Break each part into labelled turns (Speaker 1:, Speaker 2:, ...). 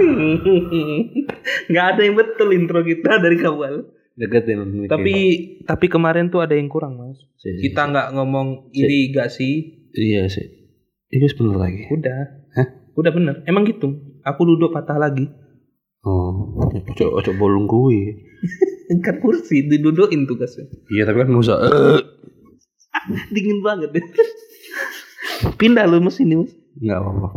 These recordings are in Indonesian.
Speaker 1: Nggak ada yang betul intro kita dari awal.
Speaker 2: Deket ya mungkin.
Speaker 1: Tapi tapi kemarin tuh ada yang kurang mas.
Speaker 2: Sih, sih.
Speaker 1: Kita nggak ngomong iri gak sih?
Speaker 2: iya sih. Ini bener lagi.
Speaker 1: Udah.
Speaker 2: Hah?
Speaker 1: Udah bener. Emang gitu. Aku duduk patah lagi.
Speaker 2: Oh, cocok cocok bolong gue.
Speaker 1: Kan kursi didudukin tugasnya.
Speaker 2: Iya tapi kan nggak usah.
Speaker 1: Dingin banget deh. Pindah lu mesin ini mas.
Speaker 2: Nggak apa-apa.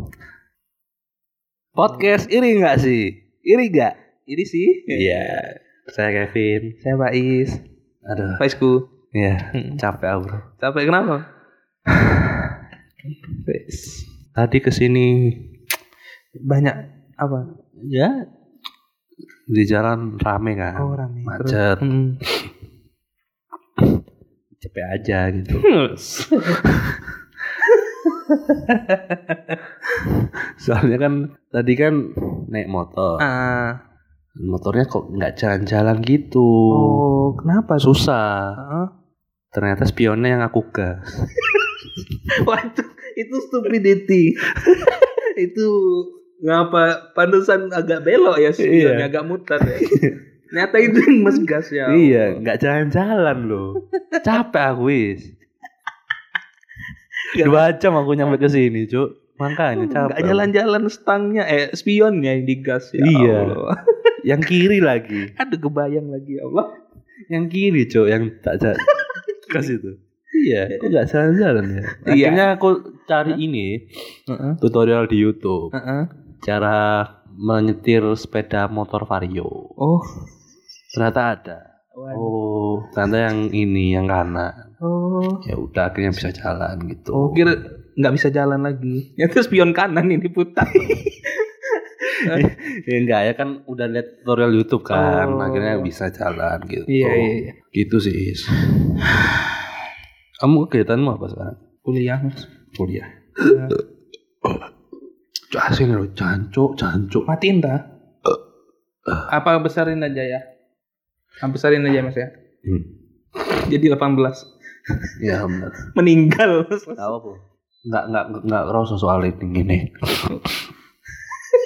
Speaker 2: Podcast iri nggak sih? Iri nggak?
Speaker 1: Ini sih.
Speaker 2: Iya. Saya Kevin.
Speaker 1: Saya Faiz. Hmm.
Speaker 2: Aduh.
Speaker 1: Faizku.
Speaker 2: Iya. Capek ah, bro.
Speaker 1: Capek kenapa?
Speaker 2: Tadi kesini
Speaker 1: Banyak apa?
Speaker 2: ya di jalan rame kan.
Speaker 1: Oh, rame.
Speaker 2: Macet.
Speaker 1: Hmm.
Speaker 2: Capek aja gitu. Soalnya kan tadi kan naik motor.
Speaker 1: Ah.
Speaker 2: Motornya kok nggak jalan-jalan gitu.
Speaker 1: Oh, kenapa? tuh?
Speaker 2: Susah.
Speaker 1: Ah.
Speaker 2: Ternyata spionnya yang aku gas.
Speaker 1: Waduh, itu stupidity. itu ngapa pantesan agak belok ya spionnya
Speaker 2: Iya.
Speaker 1: agak muter ya. Ternyata itu yang mas gas ya.
Speaker 2: Iya, nggak jalan-jalan loh. Capek aku wis. Dua jam aku nyampe ke sini, Cuk. Makanya capek.
Speaker 1: Enggak jalan-jalan stangnya eh spionnya yang digas ya.
Speaker 2: Iya.
Speaker 1: Allah.
Speaker 2: Yang kiri lagi.
Speaker 1: Aduh kebayang lagi ya Allah.
Speaker 2: Yang kiri, Cuk, yang tak jalan. Kasih itu. Iya, aku nggak jalan-jalan ya.
Speaker 1: Iya.
Speaker 2: Akhirnya aku cari ini
Speaker 1: Heeh.
Speaker 2: tutorial di YouTube
Speaker 1: Heeh.
Speaker 2: cara menyetir sepeda motor Vario.
Speaker 1: Oh.
Speaker 2: Ternyata ada.
Speaker 1: Waduh.
Speaker 2: Oh, ternyata yang ini yang kanan.
Speaker 1: Oh.
Speaker 2: Ya udah akhirnya bisa jalan gitu.
Speaker 1: Oh, kira nggak bisa jalan lagi. Ya terus spion kanan ini putar.
Speaker 2: ya enggak ya kan udah lihat tutorial YouTube kan
Speaker 1: Oh.
Speaker 2: akhirnya bisa jalan gitu
Speaker 1: Iya, iya, iya.
Speaker 2: gitu sih Is. kamu kegiatanmu apa sekarang
Speaker 1: Kuliah. Mas.
Speaker 2: kuliah
Speaker 1: Ya.
Speaker 2: Jasin lo jancuk jancuk
Speaker 1: Matiin dah. Apa besarin aja ya? Apa besarin aja mas ya.
Speaker 2: hmm.
Speaker 1: Jadi 18.
Speaker 2: ya benar
Speaker 1: Meninggal mas.
Speaker 2: tahu apa nggak nggak nggak kerasa soal ini gini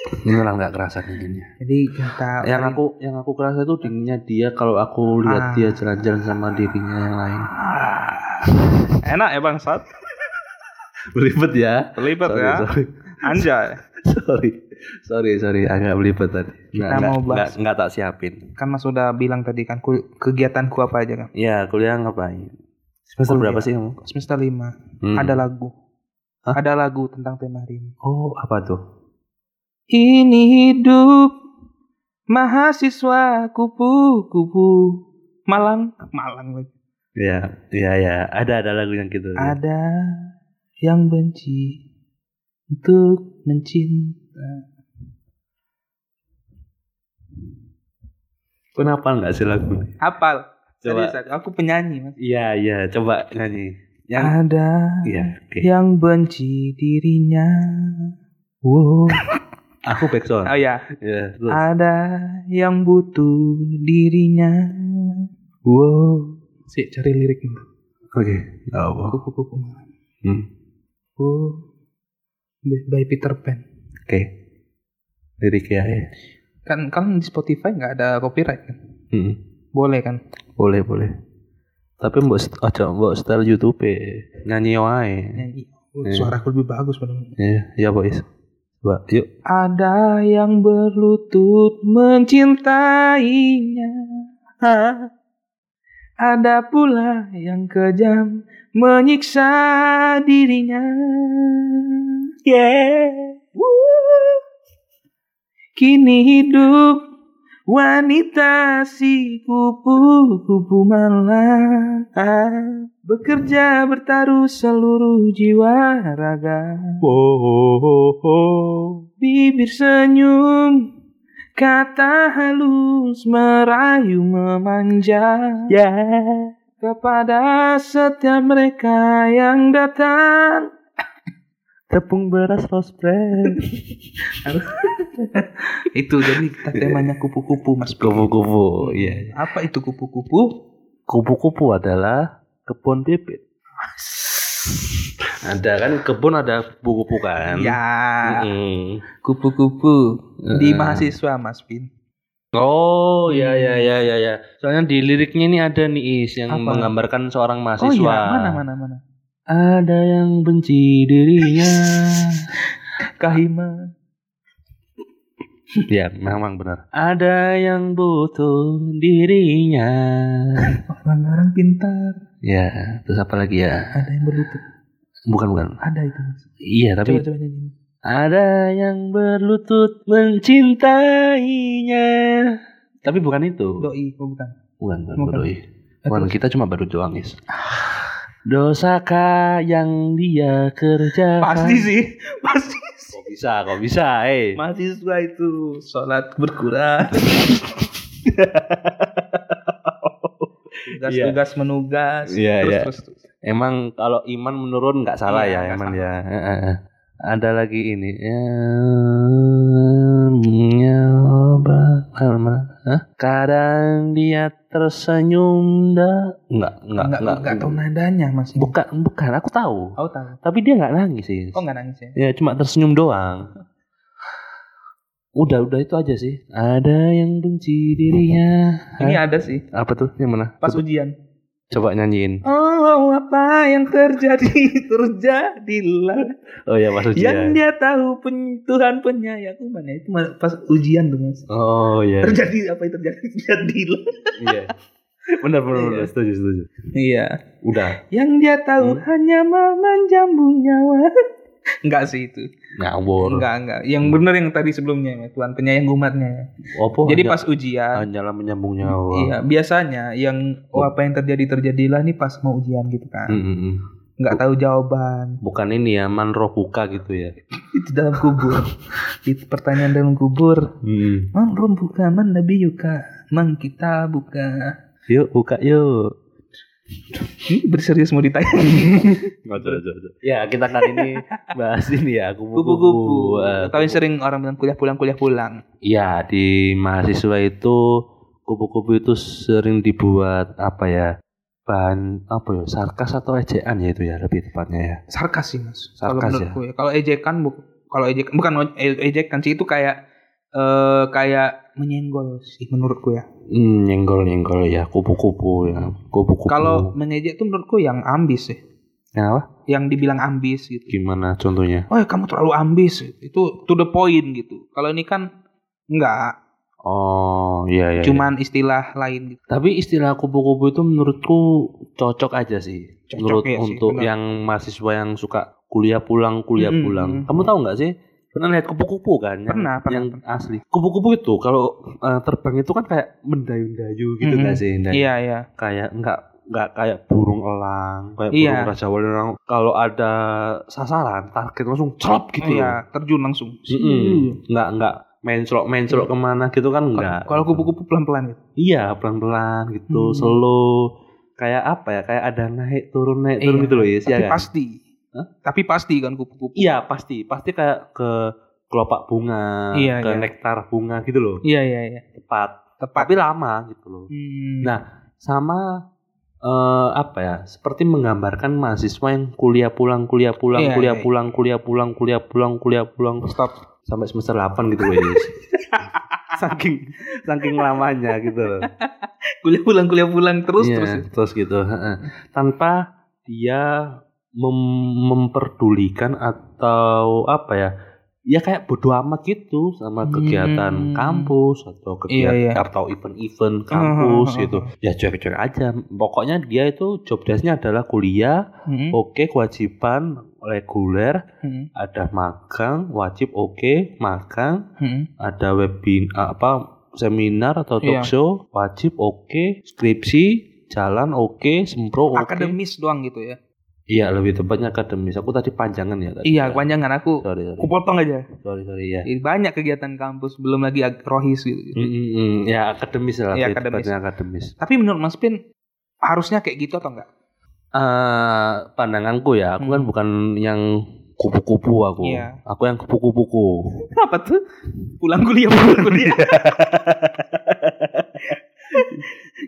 Speaker 2: beneran nggak kerasa dinginnya
Speaker 1: Jadi kita
Speaker 2: yang aku yang aku kerasa tuh dinginnya dia kalau aku
Speaker 1: Ah.
Speaker 2: lihat dia jalan-jalan sama dirinya yang lain
Speaker 1: enak ya bangsat.
Speaker 2: beribet ya
Speaker 1: Terlibat
Speaker 2: Sorry,
Speaker 1: ya.
Speaker 2: sorry.
Speaker 1: Anjay.
Speaker 2: sorry sorry sorry agak belibet tadi nggak
Speaker 1: Kita
Speaker 2: nggak
Speaker 1: mau bahas-
Speaker 2: nggak- nggak tak siapin
Speaker 1: Kan mas udah bilang tadi kan ku- kegiatanku apa aja kan.
Speaker 2: ya kuliah ngapain semester
Speaker 1: Kuliah.
Speaker 2: berapa sih kamu
Speaker 1: Semester 5
Speaker 2: Hmm.
Speaker 1: ada lagu.
Speaker 2: Hah?
Speaker 1: Ada lagu tentang tema hari ini.
Speaker 2: oh apa tuh
Speaker 1: Ini hidup mahasiswa kupu-kupu Malang, Malang lagi.
Speaker 2: ya ya ya ada ada lagu yang gitu
Speaker 1: Ada yang benci untuk mencinta.
Speaker 2: kenapa nggak sih lagu ini?
Speaker 1: Hafal.
Speaker 2: Coba.
Speaker 1: Serius, aku- aku penyanyi mas.
Speaker 2: iya iya coba nyanyi yang
Speaker 1: Ada
Speaker 2: iya oke
Speaker 1: yang benci dirinya.
Speaker 2: wow aku backsound
Speaker 1: Oh ya,
Speaker 2: ya terus.
Speaker 1: ada yang butuh dirinya.
Speaker 2: wow
Speaker 1: Si cari lirik
Speaker 2: oke nggak apa
Speaker 1: Kupu-kupu malam.
Speaker 2: Hmm,
Speaker 1: Oh, by Peter Pan.
Speaker 2: oke lirik ya ya.
Speaker 1: Kan kan di Spotify nggak ada copyright kan?
Speaker 2: Hmm,
Speaker 1: Boleh kan?
Speaker 2: boleh boleh tapi mbok st- aja mbok style YouTube nyanyi wae
Speaker 1: Nyanyi.
Speaker 2: Iya.
Speaker 1: Suaraku lebih bagus padahal.
Speaker 2: Iya, iya boys. Coba, yuk.
Speaker 1: Ada yang berlutut mencintainya. Ada pula yang kejam menyiksa dirinya. Yeah. Woo. Kini hidup wanita si kupu-kupu malam bekerja bertaruh seluruh jiwa raga. Bibir senyum Kata halus merayu memanja Ya Kepada setiap mereka yang datang
Speaker 2: Tepung beras rose brand.
Speaker 1: Itu jadi kita temanya kupu-kupu mas
Speaker 2: Kupu-kupu, iya.
Speaker 1: Apa itu kupu-kupu?
Speaker 2: Kupu-kupu adalah kebun bibit. ada kan kebun ada kupu-kupu kan.
Speaker 1: Ya,
Speaker 2: Mm-mm. Eh.
Speaker 1: kupu-kupu di
Speaker 2: Heeh.
Speaker 1: mahasiswa Mas Pin.
Speaker 2: Oh ya ya ya ya ya. Soalnya di liriknya ini ada nih Is yang
Speaker 1: Apa?
Speaker 2: menggambarkan seorang mahasiswa.
Speaker 1: Oh iya, mana mana mana.
Speaker 2: Ada yang benci dirinya.
Speaker 1: Kahima.
Speaker 2: ya, memang benar. Ada yang butuh dirinya.
Speaker 1: Orang-orang pintar.
Speaker 2: ya, terus apa lagi ya?
Speaker 1: Ada yang berlutut.
Speaker 2: Bukan bukan.
Speaker 1: Ada itu. Mas.
Speaker 2: Iya, tapi
Speaker 1: Coba coba nyanyi.
Speaker 2: ada yang berlutut mencintainya. Tapi bukan itu.
Speaker 1: Doi, oh bukan.
Speaker 2: Bukan, bukan,
Speaker 1: Bukan.
Speaker 2: doi.
Speaker 1: Eh,
Speaker 2: Bukan,
Speaker 1: terus.
Speaker 2: kita cuma baru doang, Is. Dosakah yang dia kerjakan?
Speaker 1: Pasti sih, pasti. sih.
Speaker 2: Kok bisa, kok bisa, eh.
Speaker 1: Mahasiswa itu sholat berkurang. Tugas-tugas menugas.
Speaker 2: Iya,
Speaker 1: terus,
Speaker 2: iya.
Speaker 1: terus, terus.
Speaker 2: Emang kalau iman menurun nggak salah
Speaker 1: Iya,
Speaker 2: ya,
Speaker 1: nggak
Speaker 2: emang
Speaker 1: salah.
Speaker 2: ya. Eh, eh, eh. Ada lagi ini. Em, nyoba- eh, mana? Hah? Kadang dia tersenyum dah. Enggak, enggak,
Speaker 1: Enggak,
Speaker 2: enggak.
Speaker 1: enggak, tahu nadanya Mas.
Speaker 2: Bukan, bukan. Aku tahu.
Speaker 1: Aku tahu.
Speaker 2: Tapi dia nggak nangis sih.
Speaker 1: Oh enggak nangis ya.
Speaker 2: Ya cuma tersenyum doang. Udah, udah itu aja sih. Ada yang benci dirinya.
Speaker 1: Ini ada sih
Speaker 2: Apa tuh? Yang mana?
Speaker 1: Iya. pas
Speaker 2: Coba-
Speaker 1: ujian.
Speaker 2: Coba nyanyiin.
Speaker 1: Oh, apa yang terjadi terjadilah.
Speaker 2: Oh ya, pas ujian.
Speaker 1: Yang dia tahu pun Tuhan penyayang mana itu mas- pas ujian tuh mas.
Speaker 2: Oh iya.
Speaker 1: Terjadi apa yang terjadi terjadilah.
Speaker 2: Iya. Benar, benar,
Speaker 1: Iya.
Speaker 2: benar. Setuju, setuju.
Speaker 1: Iya.
Speaker 2: Udah.
Speaker 1: Yang dia tahu
Speaker 2: Hmm.
Speaker 1: hanya memanjambung nyawa. Enggak sih itu.
Speaker 2: Ngawur.
Speaker 1: Enggak enggak. Yang benar yang tadi sebelumnya ya Tuhan penyayang umatnya. ya.
Speaker 2: Opo.
Speaker 1: Jadi
Speaker 2: hanya-
Speaker 1: pas ujian.
Speaker 2: hanyalah menyambung nyawa.
Speaker 1: Iya, biasanya yang oh, apa yang terjadi terjadilah nih pas mau ujian gitu kan.
Speaker 2: Mm, mm, mm.
Speaker 1: Enggak tahu jawaban.
Speaker 2: Bukan ini ya, manro buka gitu ya.
Speaker 1: itu dalam kubur itu pertanyaan dalam kubur
Speaker 2: Mm.
Speaker 1: man rum buka man nabi yuka man kita buka
Speaker 2: Yuk buka yuk.
Speaker 1: ini berserius mau ditanya
Speaker 2: Ya kita kali ini bahas ini ya
Speaker 1: kupu-kupu
Speaker 2: kupu-kupu. Eh,
Speaker 1: tapi sering orang bilang kuliah pulang kuliah pulang
Speaker 2: Iya di mahasiswa itu kupu-kupu itu sering dibuat apa ya bahan apa ya sarkas atau ejaan ya itu ya lebih tepatnya ya.
Speaker 1: sarkas sih mas kalau
Speaker 2: Sarkas
Speaker 1: menurutku ya kalau ejekan bu kalau ejekan bukan e- ejekan sih itu kayak eh kayak menyenggol sih menurutku ya
Speaker 2: Hmm, nyenggol nyenggol ya kupu-kupu ya kupu-kupu.
Speaker 1: kalau mengejek tuh menurutku yang ambis sih
Speaker 2: Yang apa?
Speaker 1: yang dibilang ambis gitu
Speaker 2: Gimana contohnya?
Speaker 1: oh ya kamu terlalu ambis itu to the point gitu kalau ini kan enggak
Speaker 2: Oh iya iya. iya.
Speaker 1: cuman istilah lain gitu.
Speaker 2: tapi istilah kupu-kupu itu menurutku cocok aja sih.
Speaker 1: Cocok
Speaker 2: Menurut
Speaker 1: ya sih,
Speaker 2: untuk
Speaker 1: benar.
Speaker 2: yang mahasiswa yang suka kuliah pulang kuliah
Speaker 1: Mm-mm,
Speaker 2: pulang.
Speaker 1: mm-mm.
Speaker 2: Kamu tahu nggak sih? Pernah lihat kupu-kupu kan? Yang,
Speaker 1: Pernah, pernah,
Speaker 2: Yang asli. Kupu-kupu itu kalau eh, terbang itu kan kayak mendayu-dayu gitu
Speaker 1: Mm-mm.
Speaker 2: nggak sih? Dan
Speaker 1: Iya iya.
Speaker 2: Kayak nggak nggak kayak burung elang, kayak
Speaker 1: Iya.
Speaker 2: burung raja wali elang. Kalau ada sasaran, target langsung celop gitu
Speaker 1: iya,
Speaker 2: ya.
Speaker 1: terjun langsung. Iya.
Speaker 2: Mm-mm. Nggak nggak mencrok-mencrok kemana gitu
Speaker 1: Kalau
Speaker 2: kan nggak.
Speaker 1: kalau kupu-kupu pelan-pelan gitu.
Speaker 2: Iya, pelan-pelan gitu,
Speaker 1: Hmm.
Speaker 2: slow. Kayak apa ya? Kayak ada naik turun naik turun
Speaker 1: Iya,
Speaker 2: gitu loh, Is, ya
Speaker 1: Tapi
Speaker 2: kan?
Speaker 1: pasti.
Speaker 2: Hah?
Speaker 1: Tapi pasti kan kupu-kupu.
Speaker 2: Iya, pasti. Pasti kayak ke kelopak bunga,
Speaker 1: Iya,
Speaker 2: ke
Speaker 1: iya.
Speaker 2: nektar bunga gitu loh.
Speaker 1: Iya iya iya.
Speaker 2: Tepat.
Speaker 1: Tepat.
Speaker 2: Tapi lama gitu loh.
Speaker 1: Hmm.
Speaker 2: Nah, Sama eh, apa ya? Seperti menggambarkan mahasiswa yang kuliah pulang, kuliah pulang,
Speaker 1: Iya,
Speaker 2: kuliah
Speaker 1: iya.
Speaker 2: pulang, kuliah pulang, kuliah pulang, kuliah pulang
Speaker 1: stop.
Speaker 2: sampai semester 8 gitu loh, Is. saking saking lamanya gitu loh.
Speaker 1: Kuliah pulang kuliah pulang terus
Speaker 2: Iya,
Speaker 1: terus. ya?
Speaker 2: terus gitu heeh. tanpa dia mem- memperdulikan atau apa ya ya kayak bodo amat gitu sama
Speaker 1: Hmm.
Speaker 2: kegiatan kampus atau
Speaker 1: Iya,
Speaker 2: kegiatan
Speaker 1: iya.
Speaker 2: atau event-event kampus
Speaker 1: Hahaha.
Speaker 2: gitu ya cuek-cuek aja pokoknya dia itu job desk-nya adalah kuliah
Speaker 1: Hmm.
Speaker 2: oke kewajiban reguler
Speaker 1: Hmm.
Speaker 2: ada magang wajib oke magang
Speaker 1: Hmm.
Speaker 2: ada webin apa seminar atau
Speaker 1: Iya.
Speaker 2: talkshow wajib oke skripsi jalan oke sempro oke
Speaker 1: Akademis doang gitu ya.
Speaker 2: iya lebih tepatnya akademis aku tadi panjangan ya tadi
Speaker 1: Iya, kepanjangan aku Iya.
Speaker 2: sorry sorry
Speaker 1: aku potong aja.
Speaker 2: sorry sorry ya
Speaker 1: Ih, Banyak kegiatan kampus belum lagi ag- rohis gitu.
Speaker 2: Mm, mm, mm. ya akademis lah
Speaker 1: Iya,
Speaker 2: lebih
Speaker 1: akademis.
Speaker 2: tepatnya akademis
Speaker 1: Tapi menurut Mas Pin harusnya kayak gitu atau enggak?
Speaker 2: Eh, pandanganku ya aku kan
Speaker 1: Hmm.
Speaker 2: bukan yang kupu-kupu aku
Speaker 1: Iya.
Speaker 2: aku yang kupu-kupuku
Speaker 1: Apa tuh? Pulang kuliah pulang kuliah.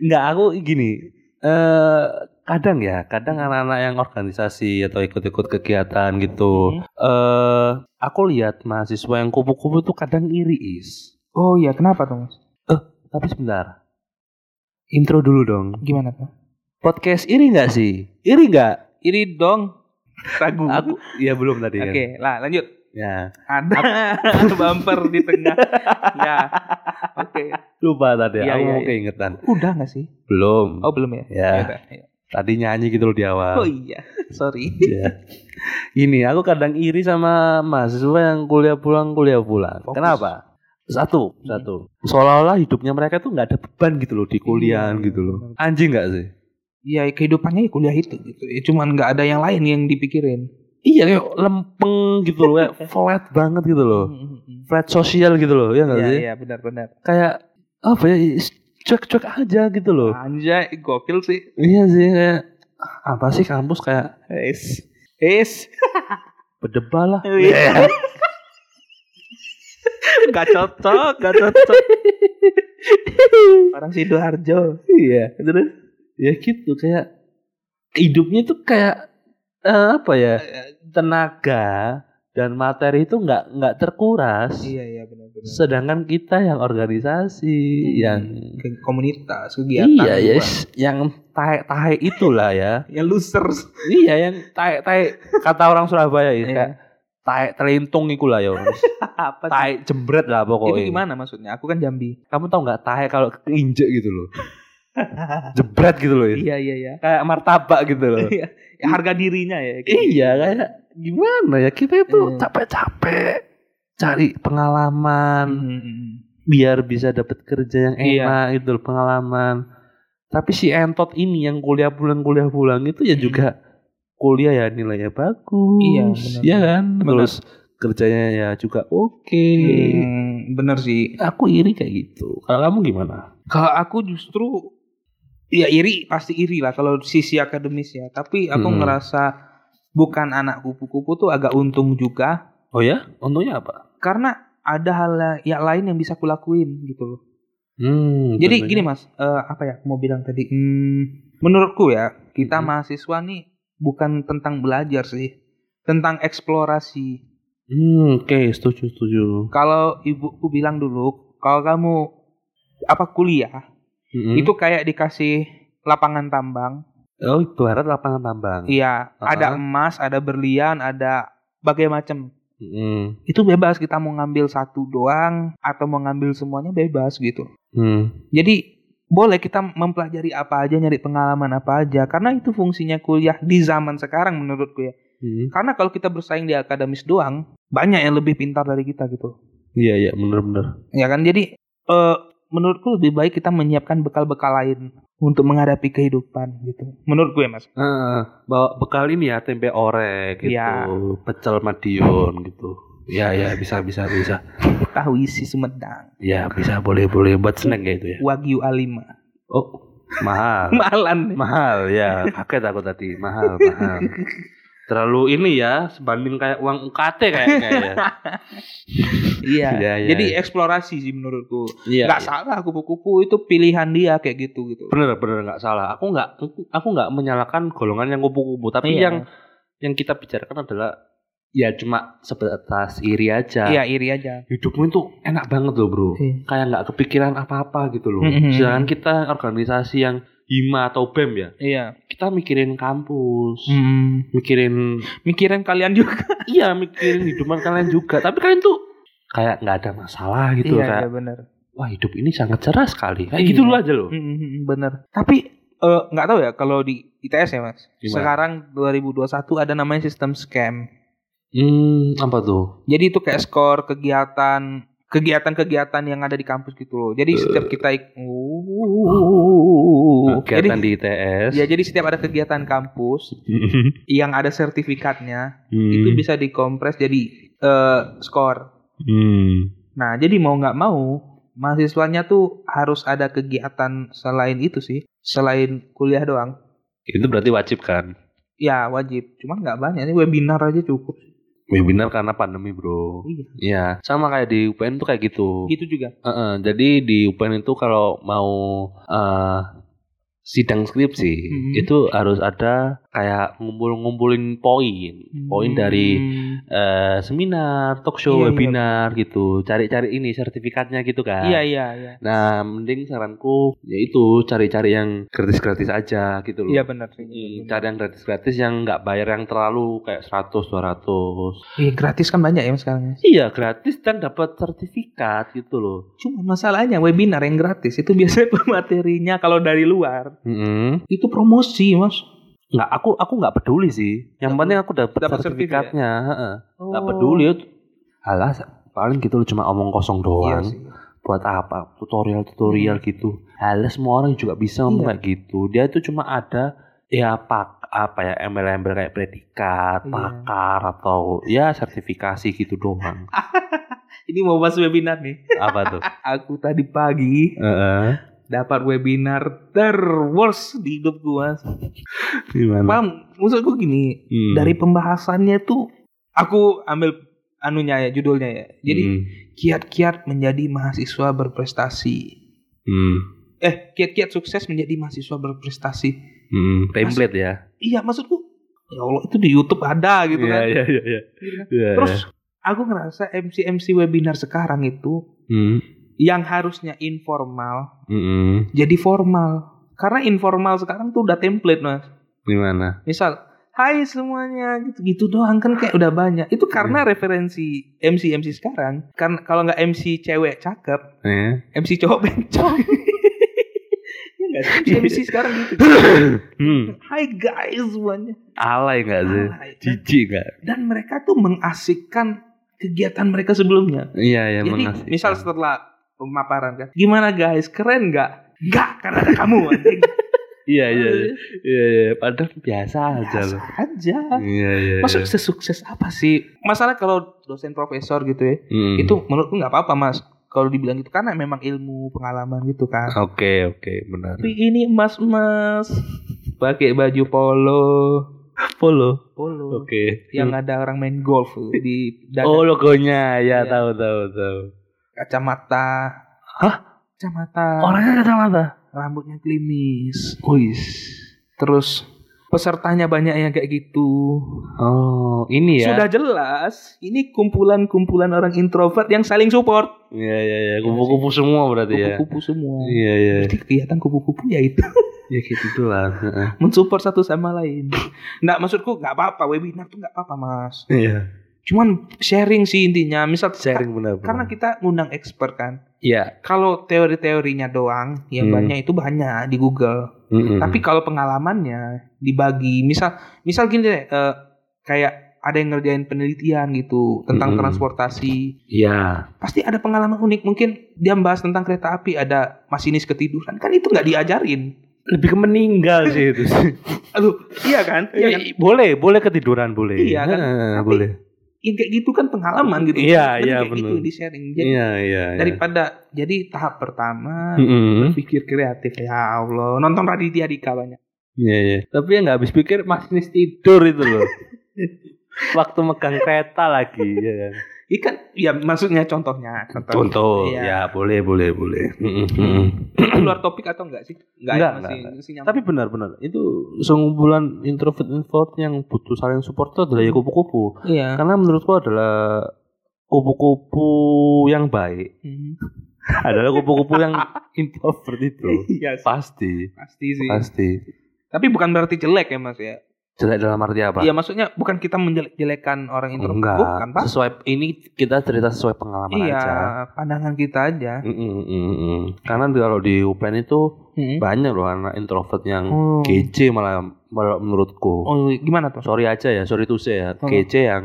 Speaker 2: Enggak, aku gini. Eh kadang ya, kadang anak-anak yang organisasi atau ikut-ikut kegiatan gitu.
Speaker 1: Hmm.
Speaker 2: Eh, aku lihat mahasiswa yang kupu-kupu itu kadang iri is.
Speaker 1: Oh iya, kenapa tuh mas?
Speaker 2: Tapi sebentar. Intro dulu dong.
Speaker 1: Gimana tuh?
Speaker 2: Podcast iri nggak sih? Iri nggak?
Speaker 1: Iri dong. Ragu.
Speaker 2: Aku ya belum tadi
Speaker 1: Oke,
Speaker 2: kan.
Speaker 1: lah lanjut.
Speaker 2: Ya.
Speaker 1: Ada bumper di tengah. ya. Oke.
Speaker 2: Lupa tadi.
Speaker 1: Iya,
Speaker 2: aku
Speaker 1: iya,
Speaker 2: mau
Speaker 1: iya.
Speaker 2: keingetan.
Speaker 1: Udah gak sih?
Speaker 2: Belum.
Speaker 1: Oh belum ya?
Speaker 2: Ya.
Speaker 1: udah, ya.
Speaker 2: Tadi nyanyi gitu loh di awal.
Speaker 1: Oh iya, sorry.
Speaker 2: Ya. Gini, aku kadang iri sama mahasiswa yang kuliah pulang kuliah pulang.
Speaker 1: Fokus.
Speaker 2: Kenapa? Satu,
Speaker 1: Hmm.
Speaker 2: satu. Seolah-olah hidupnya mereka tuh nggak ada beban gitu loh di kuliahan
Speaker 1: Iya,
Speaker 2: gitu loh.
Speaker 1: benar.
Speaker 2: Anjing nggak sih?
Speaker 1: Ya kehidupannya ya kuliah itu gitu. Ya, cuman nggak ada yang lain yang dipikirin.
Speaker 2: Iya, kayak lempeng gitu loh, kayak flat banget gitu loh.
Speaker 1: Mm-mm.
Speaker 2: Flat sosial gitu loh, ya nggak
Speaker 1: Iya
Speaker 2: sih?
Speaker 1: iya benar-benar.
Speaker 2: Kayak apa ya? Cuek-cuek aja gitu loh.
Speaker 1: Anjay, gokil sih.
Speaker 2: Iya sih kayak "Ah, apa sih kampus kayak
Speaker 1: Es. Es.
Speaker 2: berdebat lah.
Speaker 1: Iya. Gak cocok, gak cocok. Orang Sidoarjo.
Speaker 2: Iya, terus ya gitu kayak hidupnya tuh kayak eh, apa ya tenaga dan materi itu nggak nggak terkuras.
Speaker 1: Iya iya benar-benar.
Speaker 2: Sedangkan kita yang organisasi yang
Speaker 1: Ke komunitas, kegiatan. Hmm.
Speaker 2: iya ya
Speaker 1: gua.
Speaker 2: yes, yang tae tae itulah ya.
Speaker 1: Yang losers.
Speaker 2: iya yang tae tae kata orang Surabaya ya
Speaker 1: Iya.
Speaker 2: kayak tae telintung ikulah ya.
Speaker 1: Apa sih?
Speaker 2: tae jembret lah pokoknya.
Speaker 1: Itu gimana maksudnya? Aku kan Jambi.
Speaker 2: Kamu tahu nggak tae kalau keinjek gitu loh. jebret gitu loh. ya.
Speaker 1: iya iya iya.
Speaker 2: Kayak martabak gitu loh.
Speaker 1: Iya. Ya, harga dirinya ya.
Speaker 2: Iya kayak gimana ya kita itu
Speaker 1: Iya.
Speaker 2: capek-capek cari pengalaman
Speaker 1: Mm, mm, mm.
Speaker 2: biar bisa dapat kerja yang
Speaker 1: Iya.
Speaker 2: enak gitu loh, pengalaman. Tapi si entot ini yang kuliah pulang kuliah pulang itu ya
Speaker 1: Mm.
Speaker 2: juga kuliah ya nilainya bagus,
Speaker 1: Iya, benar.
Speaker 2: ya kan.
Speaker 1: Benar.
Speaker 2: Terus kerjanya ya juga oke.
Speaker 1: Hmm, bener sih.
Speaker 2: Aku iri kayak gitu. Kalau kamu gimana?
Speaker 1: Kalau aku justru ya iri pasti iri lah kalau sisi akademis ya. Tapi aku
Speaker 2: Mm.
Speaker 1: ngerasa bukan anak kupu-kupu tuh agak untung juga
Speaker 2: Oh ya, untungnya apa?
Speaker 1: karena ada hal la- ya lain yang bisa kulakuin gitu loh.
Speaker 2: Hmm,
Speaker 1: Jadi gini mas, eh, apa ya aku mau bilang tadi? Hmm, menurutku ya kita
Speaker 2: Mm.
Speaker 1: mahasiswa nih bukan tentang belajar sih, tentang eksplorasi.
Speaker 2: Hmm, oke, setuju, setuju.
Speaker 1: Kalau ibuku bilang dulu, kalau kamu apa kuliah
Speaker 2: Mm-mm.
Speaker 1: itu kayak dikasih lapangan tambang
Speaker 2: oh ibarat lapangan tambang.
Speaker 1: Iya,
Speaker 2: Uh-uh.
Speaker 1: ada emas, ada berlian, ada bagai macam.
Speaker 2: Mm-mm.
Speaker 1: Itu bebas kita mau ngambil satu doang atau mau ngambil semuanya bebas gitu.
Speaker 2: Hmm.
Speaker 1: Jadi boleh kita mempelajari apa aja, nyari pengalaman apa aja karena itu fungsinya kuliah di zaman sekarang menurutku ya.
Speaker 2: Hmm.
Speaker 1: Karena kalau kita bersaing di akademis doang, banyak yang lebih pintar dari kita gitu.
Speaker 2: Iya iya bener-bener.
Speaker 1: Ya kan? Jadi eh, menurutku lebih baik kita menyiapkan bekal-bekal lain untuk menghadapi kehidupan gitu. Menurutku ya, Mas.
Speaker 2: Ah, bawa bekal ini ya tempe orek gitu,
Speaker 1: Iya.
Speaker 2: pecel Madiun gitu. Iya iya bisa bisa bisa.
Speaker 1: Tahu isi Sumedang,
Speaker 2: Iya bisa boleh boleh buat snack ya itu ya.
Speaker 1: Wagyu A5.
Speaker 2: Oh mahal
Speaker 1: Malan.
Speaker 2: mahal ya kaget aku tadi mahal mahal. Terlalu ini ya sebanding kayak uang UKT kayaknya ya.
Speaker 1: Iya.
Speaker 2: Iya, iya,
Speaker 1: Jadi
Speaker 2: iya.
Speaker 1: eksplorasi sih menurutku.
Speaker 2: Iya.
Speaker 1: nggak salah kupu-kupu itu pilihan dia kayak gitu gitu.
Speaker 2: Bener bener nggak salah. Aku nggak aku nggak menyalahkan golongan yang kupu-kupu tapi
Speaker 1: Iya.
Speaker 2: yang yang kita bicarakan adalah ya cuma sebatas iri aja.
Speaker 1: Iya iri aja.
Speaker 2: hidupmu itu enak banget loh bro
Speaker 1: Iya.
Speaker 2: kayak nggak kepikiran apa-apa gitu loh
Speaker 1: Mhm.
Speaker 2: sedangkan kita organisasi yang hima atau bem ya
Speaker 1: Iya.
Speaker 2: kita mikirin kampus
Speaker 1: Hmm.
Speaker 2: mikirin
Speaker 1: Mikirin kalian juga.
Speaker 2: iya mikirin hidupan kalian juga tapi kalian tuh kayak nggak ada masalah gitu
Speaker 1: iya,
Speaker 2: kayak
Speaker 1: iya benar.
Speaker 2: wah hidup ini sangat cerah sekali kayak
Speaker 1: Iya.
Speaker 2: gitu loh aja loh
Speaker 1: benar. Tapi eh, nggak tahu ya kalau di ITS ya mas.
Speaker 2: Gimana?
Speaker 1: Sekarang 2021 ada namanya sistem scam.
Speaker 2: hmm apa tuh
Speaker 1: Jadi itu kayak skor kegiatan kegiatan-kegiatan yang ada di kampus gitu loh. Jadi
Speaker 2: Eh.
Speaker 1: setiap kita ik- Uh, Oh.
Speaker 2: kegiatan
Speaker 1: jadi,
Speaker 2: di ITS
Speaker 1: ya jadi setiap ada kegiatan kampus
Speaker 2: Hmm.
Speaker 1: yang ada sertifikatnya itu bisa dikompres jadi eh, skor.
Speaker 2: Hmm.
Speaker 1: Nah, jadi mau nggak mau mahasiswanya tuh harus ada kegiatan selain itu sih, selain kuliah doang.
Speaker 2: itu berarti wajib kan
Speaker 1: Ya wajib, cuman nggak banyak ini webinar aja cukup.
Speaker 2: webinar karena pandemi bro
Speaker 1: Iya.
Speaker 2: Iya, sama kayak di UPN tuh kayak gitu.
Speaker 1: Gitu juga.
Speaker 2: Heeh, jadi di UPN itu kalau mau eh sidang skripsi
Speaker 1: Mhm.
Speaker 2: itu harus ada kayak ngumpul-ngumpulin poin, poin dari
Speaker 1: Hmm.
Speaker 2: eh, seminar, talk show,
Speaker 1: Iya, iya.
Speaker 2: webinar gitu. Cari-cari ini sertifikatnya gitu kan.
Speaker 1: Iya iya iya.
Speaker 2: Nah, mending saranku yaitu cari-cari yang gratis-gratis aja gitu loh.
Speaker 1: Iya benar sih.
Speaker 2: Hmm, Cari yang gratis-gratis yang nggak bayar yang terlalu kayak 100 200.
Speaker 1: Iya gratis kan banyak ya sekarang.
Speaker 2: Iya, gratis dan dapat sertifikat gitu loh.
Speaker 1: Cuma masalahnya webinar yang gratis itu biasanya pematerinya kalau dari luar
Speaker 2: Mm-mm.
Speaker 1: itu promosi mas.
Speaker 2: Nggak, aku aku nggak peduli sih. Yang
Speaker 1: Dapat-
Speaker 2: penting aku dapat
Speaker 1: dapat
Speaker 2: sertifikatnya. heeh.
Speaker 1: Oh.
Speaker 2: Nggak peduli. Alah, paling gitu loh cuma omong kosong
Speaker 1: Iya
Speaker 2: doang.
Speaker 1: sih.
Speaker 2: buat apa tutorial tutorial gitu hal semua orang juga bisa ngomong
Speaker 1: Iya.
Speaker 2: kayak gitu dia itu cuma ada ya pak apa ya embel-embel kayak predikat
Speaker 1: Iya.
Speaker 2: pakar atau ya sertifikasi gitu doang
Speaker 1: Ini mau bahas webinar nih.
Speaker 2: apa tuh
Speaker 1: Aku tadi pagi dapat webinar terworst di hidup gua.
Speaker 2: gimana
Speaker 1: Paham? Maksudku gini,
Speaker 2: Hmm.
Speaker 1: dari pembahasannya tuh aku ambil anunya ya judulnya ya. Jadi
Speaker 2: Hmm.
Speaker 1: kiat-kiat menjadi mahasiswa berprestasi.
Speaker 2: Hmm.
Speaker 1: Eh, kiat-kiat sukses menjadi mahasiswa berprestasi.
Speaker 2: Hmm. template ya
Speaker 1: Iya, maksudku ya Allah itu di YouTube ada gitu
Speaker 2: Iya,
Speaker 1: kan.
Speaker 2: iya, iya, iya.
Speaker 1: Gitu kan.
Speaker 2: Iya,
Speaker 1: Terus
Speaker 2: iya.
Speaker 1: aku ngerasa MC MC webinar sekarang itu
Speaker 2: Hmm.
Speaker 1: yang harusnya informal
Speaker 2: Mm-mm.
Speaker 1: jadi formal. Karena informal sekarang tuh udah template, Mas.
Speaker 2: gimana
Speaker 1: Misal, "Hai semuanya." gitu-gitu doang kan kayak udah banyak. Itu
Speaker 2: Iya.
Speaker 1: karena referensi MC MC sekarang kan kalau nggak MC cewek cakep,
Speaker 2: Eh.
Speaker 1: MC cowok bencong. Iya nggak sih? MC sekarang gitu.
Speaker 2: hmm.
Speaker 1: Hai guys semuanya.
Speaker 2: alay nggak Iya sih
Speaker 1: Hai.
Speaker 2: jijik nggak
Speaker 1: Dan mereka tuh mengasingkan kegiatan mereka sebelumnya.
Speaker 2: iya ya
Speaker 1: Jadi misal setelah pemaparan kan, gimana guys? Keren nggak? Nggak karena ada kamu. anjing.
Speaker 2: iya iya iya. iya iya. padahal biasa aja
Speaker 1: Biasa
Speaker 2: loh
Speaker 1: aja.
Speaker 2: iya iya iya.
Speaker 1: Masuk sesukses apa sih? Masalah kalau dosen profesor gitu ya,
Speaker 2: Hmm.
Speaker 1: itu menurutku nggak apa-apa mas. Kalau dibilang gitu karena memang ilmu pengalaman gitu kan.
Speaker 2: Oke oke benar.
Speaker 1: Tapi ini mas-mas pakai baju polo,
Speaker 2: Polo.
Speaker 1: polo
Speaker 2: Oke.
Speaker 1: yang ada orang main golf di dada
Speaker 2: Oh logonya ya
Speaker 1: Iya.
Speaker 2: tahu tahu tahu.
Speaker 1: kacamata.
Speaker 2: Hah?
Speaker 1: Kacamata.
Speaker 2: Orangnya kacamata.
Speaker 1: Rambutnya gelimis.
Speaker 2: Oh, iya.
Speaker 1: Terus pesertanya banyak yang kayak gitu.
Speaker 2: Oh ini ya.
Speaker 1: Sudah jelas, ini kumpulan-kumpulan orang introvert yang saling support.
Speaker 2: Iya iya iya. Kupu-kupu semua berarti ya.
Speaker 1: Kupu-kupu semua.
Speaker 2: Iya iya.
Speaker 1: Jadi kegiatan kupu-kupu ya itu
Speaker 2: Ya gitu tuh lah. Heeh.
Speaker 1: mensupport satu sama lain. Nah, maksudku nggak apa-apa webinar tuh nggak apa-apa, Mas.
Speaker 2: Iya.
Speaker 1: Cuman sharing sih intinya. Misal
Speaker 2: Sharing benar.
Speaker 1: ka- karena kita ngundang expert kan.
Speaker 2: Iya.
Speaker 1: Kalau teori-teorinya doang yang
Speaker 2: Hmm.
Speaker 1: banyak itu banyak di Google.
Speaker 2: Mm-mm.
Speaker 1: Tapi kalau pengalamannya dibagi, misal misal gini deh eh, kayak ada yang ngerjain penelitian gitu tentang
Speaker 2: Hmm.
Speaker 1: transportasi.
Speaker 2: Iya.
Speaker 1: Pasti ada pengalaman unik. Mungkin dia bahas tentang kereta api ada masinis ketiduran. Kan itu nggak diajarin.
Speaker 2: Lebih ke meninggal sih itu.
Speaker 1: Aduh, iya kan? Iya
Speaker 2: Iya,
Speaker 1: kan?
Speaker 2: boleh boleh ketiduran boleh.
Speaker 1: Iya, kan?
Speaker 2: Heeh,
Speaker 1: Tapi-
Speaker 2: boleh.
Speaker 1: Yang kayak gitu kan pengalaman gitu.
Speaker 2: Iya,
Speaker 1: Kan
Speaker 2: iya,
Speaker 1: kayak gitu
Speaker 2: benar.
Speaker 1: di sharing. Jadi
Speaker 2: Iya iya. Hmm. iya.
Speaker 1: daripada jadi tahap pertama
Speaker 2: Mm-mm.
Speaker 1: pikir kreatif ya Allah nonton Raditya Dika banyak
Speaker 2: Iya iya. Tapi yang nggak habis pikir masinis tidur itu loh. Waktu megang kereta lagi ya kan.
Speaker 1: ikan ya maksudnya contohnya
Speaker 2: Contoh
Speaker 1: Iya.
Speaker 2: ya boleh boleh boleh.
Speaker 1: Ini keluar topik atau enggak sih ya,
Speaker 2: Enggak,
Speaker 1: masih,
Speaker 2: enggak,
Speaker 1: masih nyambung.
Speaker 2: Tapi benar-benar itu sekumpulan introvert introvert yang butuh saling support itu adalah ya kupu-kupu.
Speaker 1: iya
Speaker 2: Karena menurutku adalah kupu-kupu yang baik
Speaker 1: Hmm.
Speaker 2: adalah kupu-kupu yang introvert itu.
Speaker 1: iya sih,
Speaker 2: Pasti,
Speaker 1: pasti sih
Speaker 2: pasti.
Speaker 1: tapi bukan berarti jelek ya mas ya
Speaker 2: Jelek dalam arti apa?
Speaker 1: iya maksudnya bukan kita menjelek-jelekan orang introvert
Speaker 2: Enggak.
Speaker 1: bukan pak
Speaker 2: Sesuai ini kita cerita sesuai pengalaman
Speaker 1: iya
Speaker 2: aja.
Speaker 1: pandangan kita aja
Speaker 2: Mm-mm, mm-mm. Karena di- kalau di UPN itu
Speaker 1: Hmm.
Speaker 2: banyak loh anak introvert yang
Speaker 1: oh.
Speaker 2: kece malah malah menurutku.
Speaker 1: Oh, gimana tuh
Speaker 2: Sorry aja ya, sorry tuh saya
Speaker 1: Oh.
Speaker 2: kece yang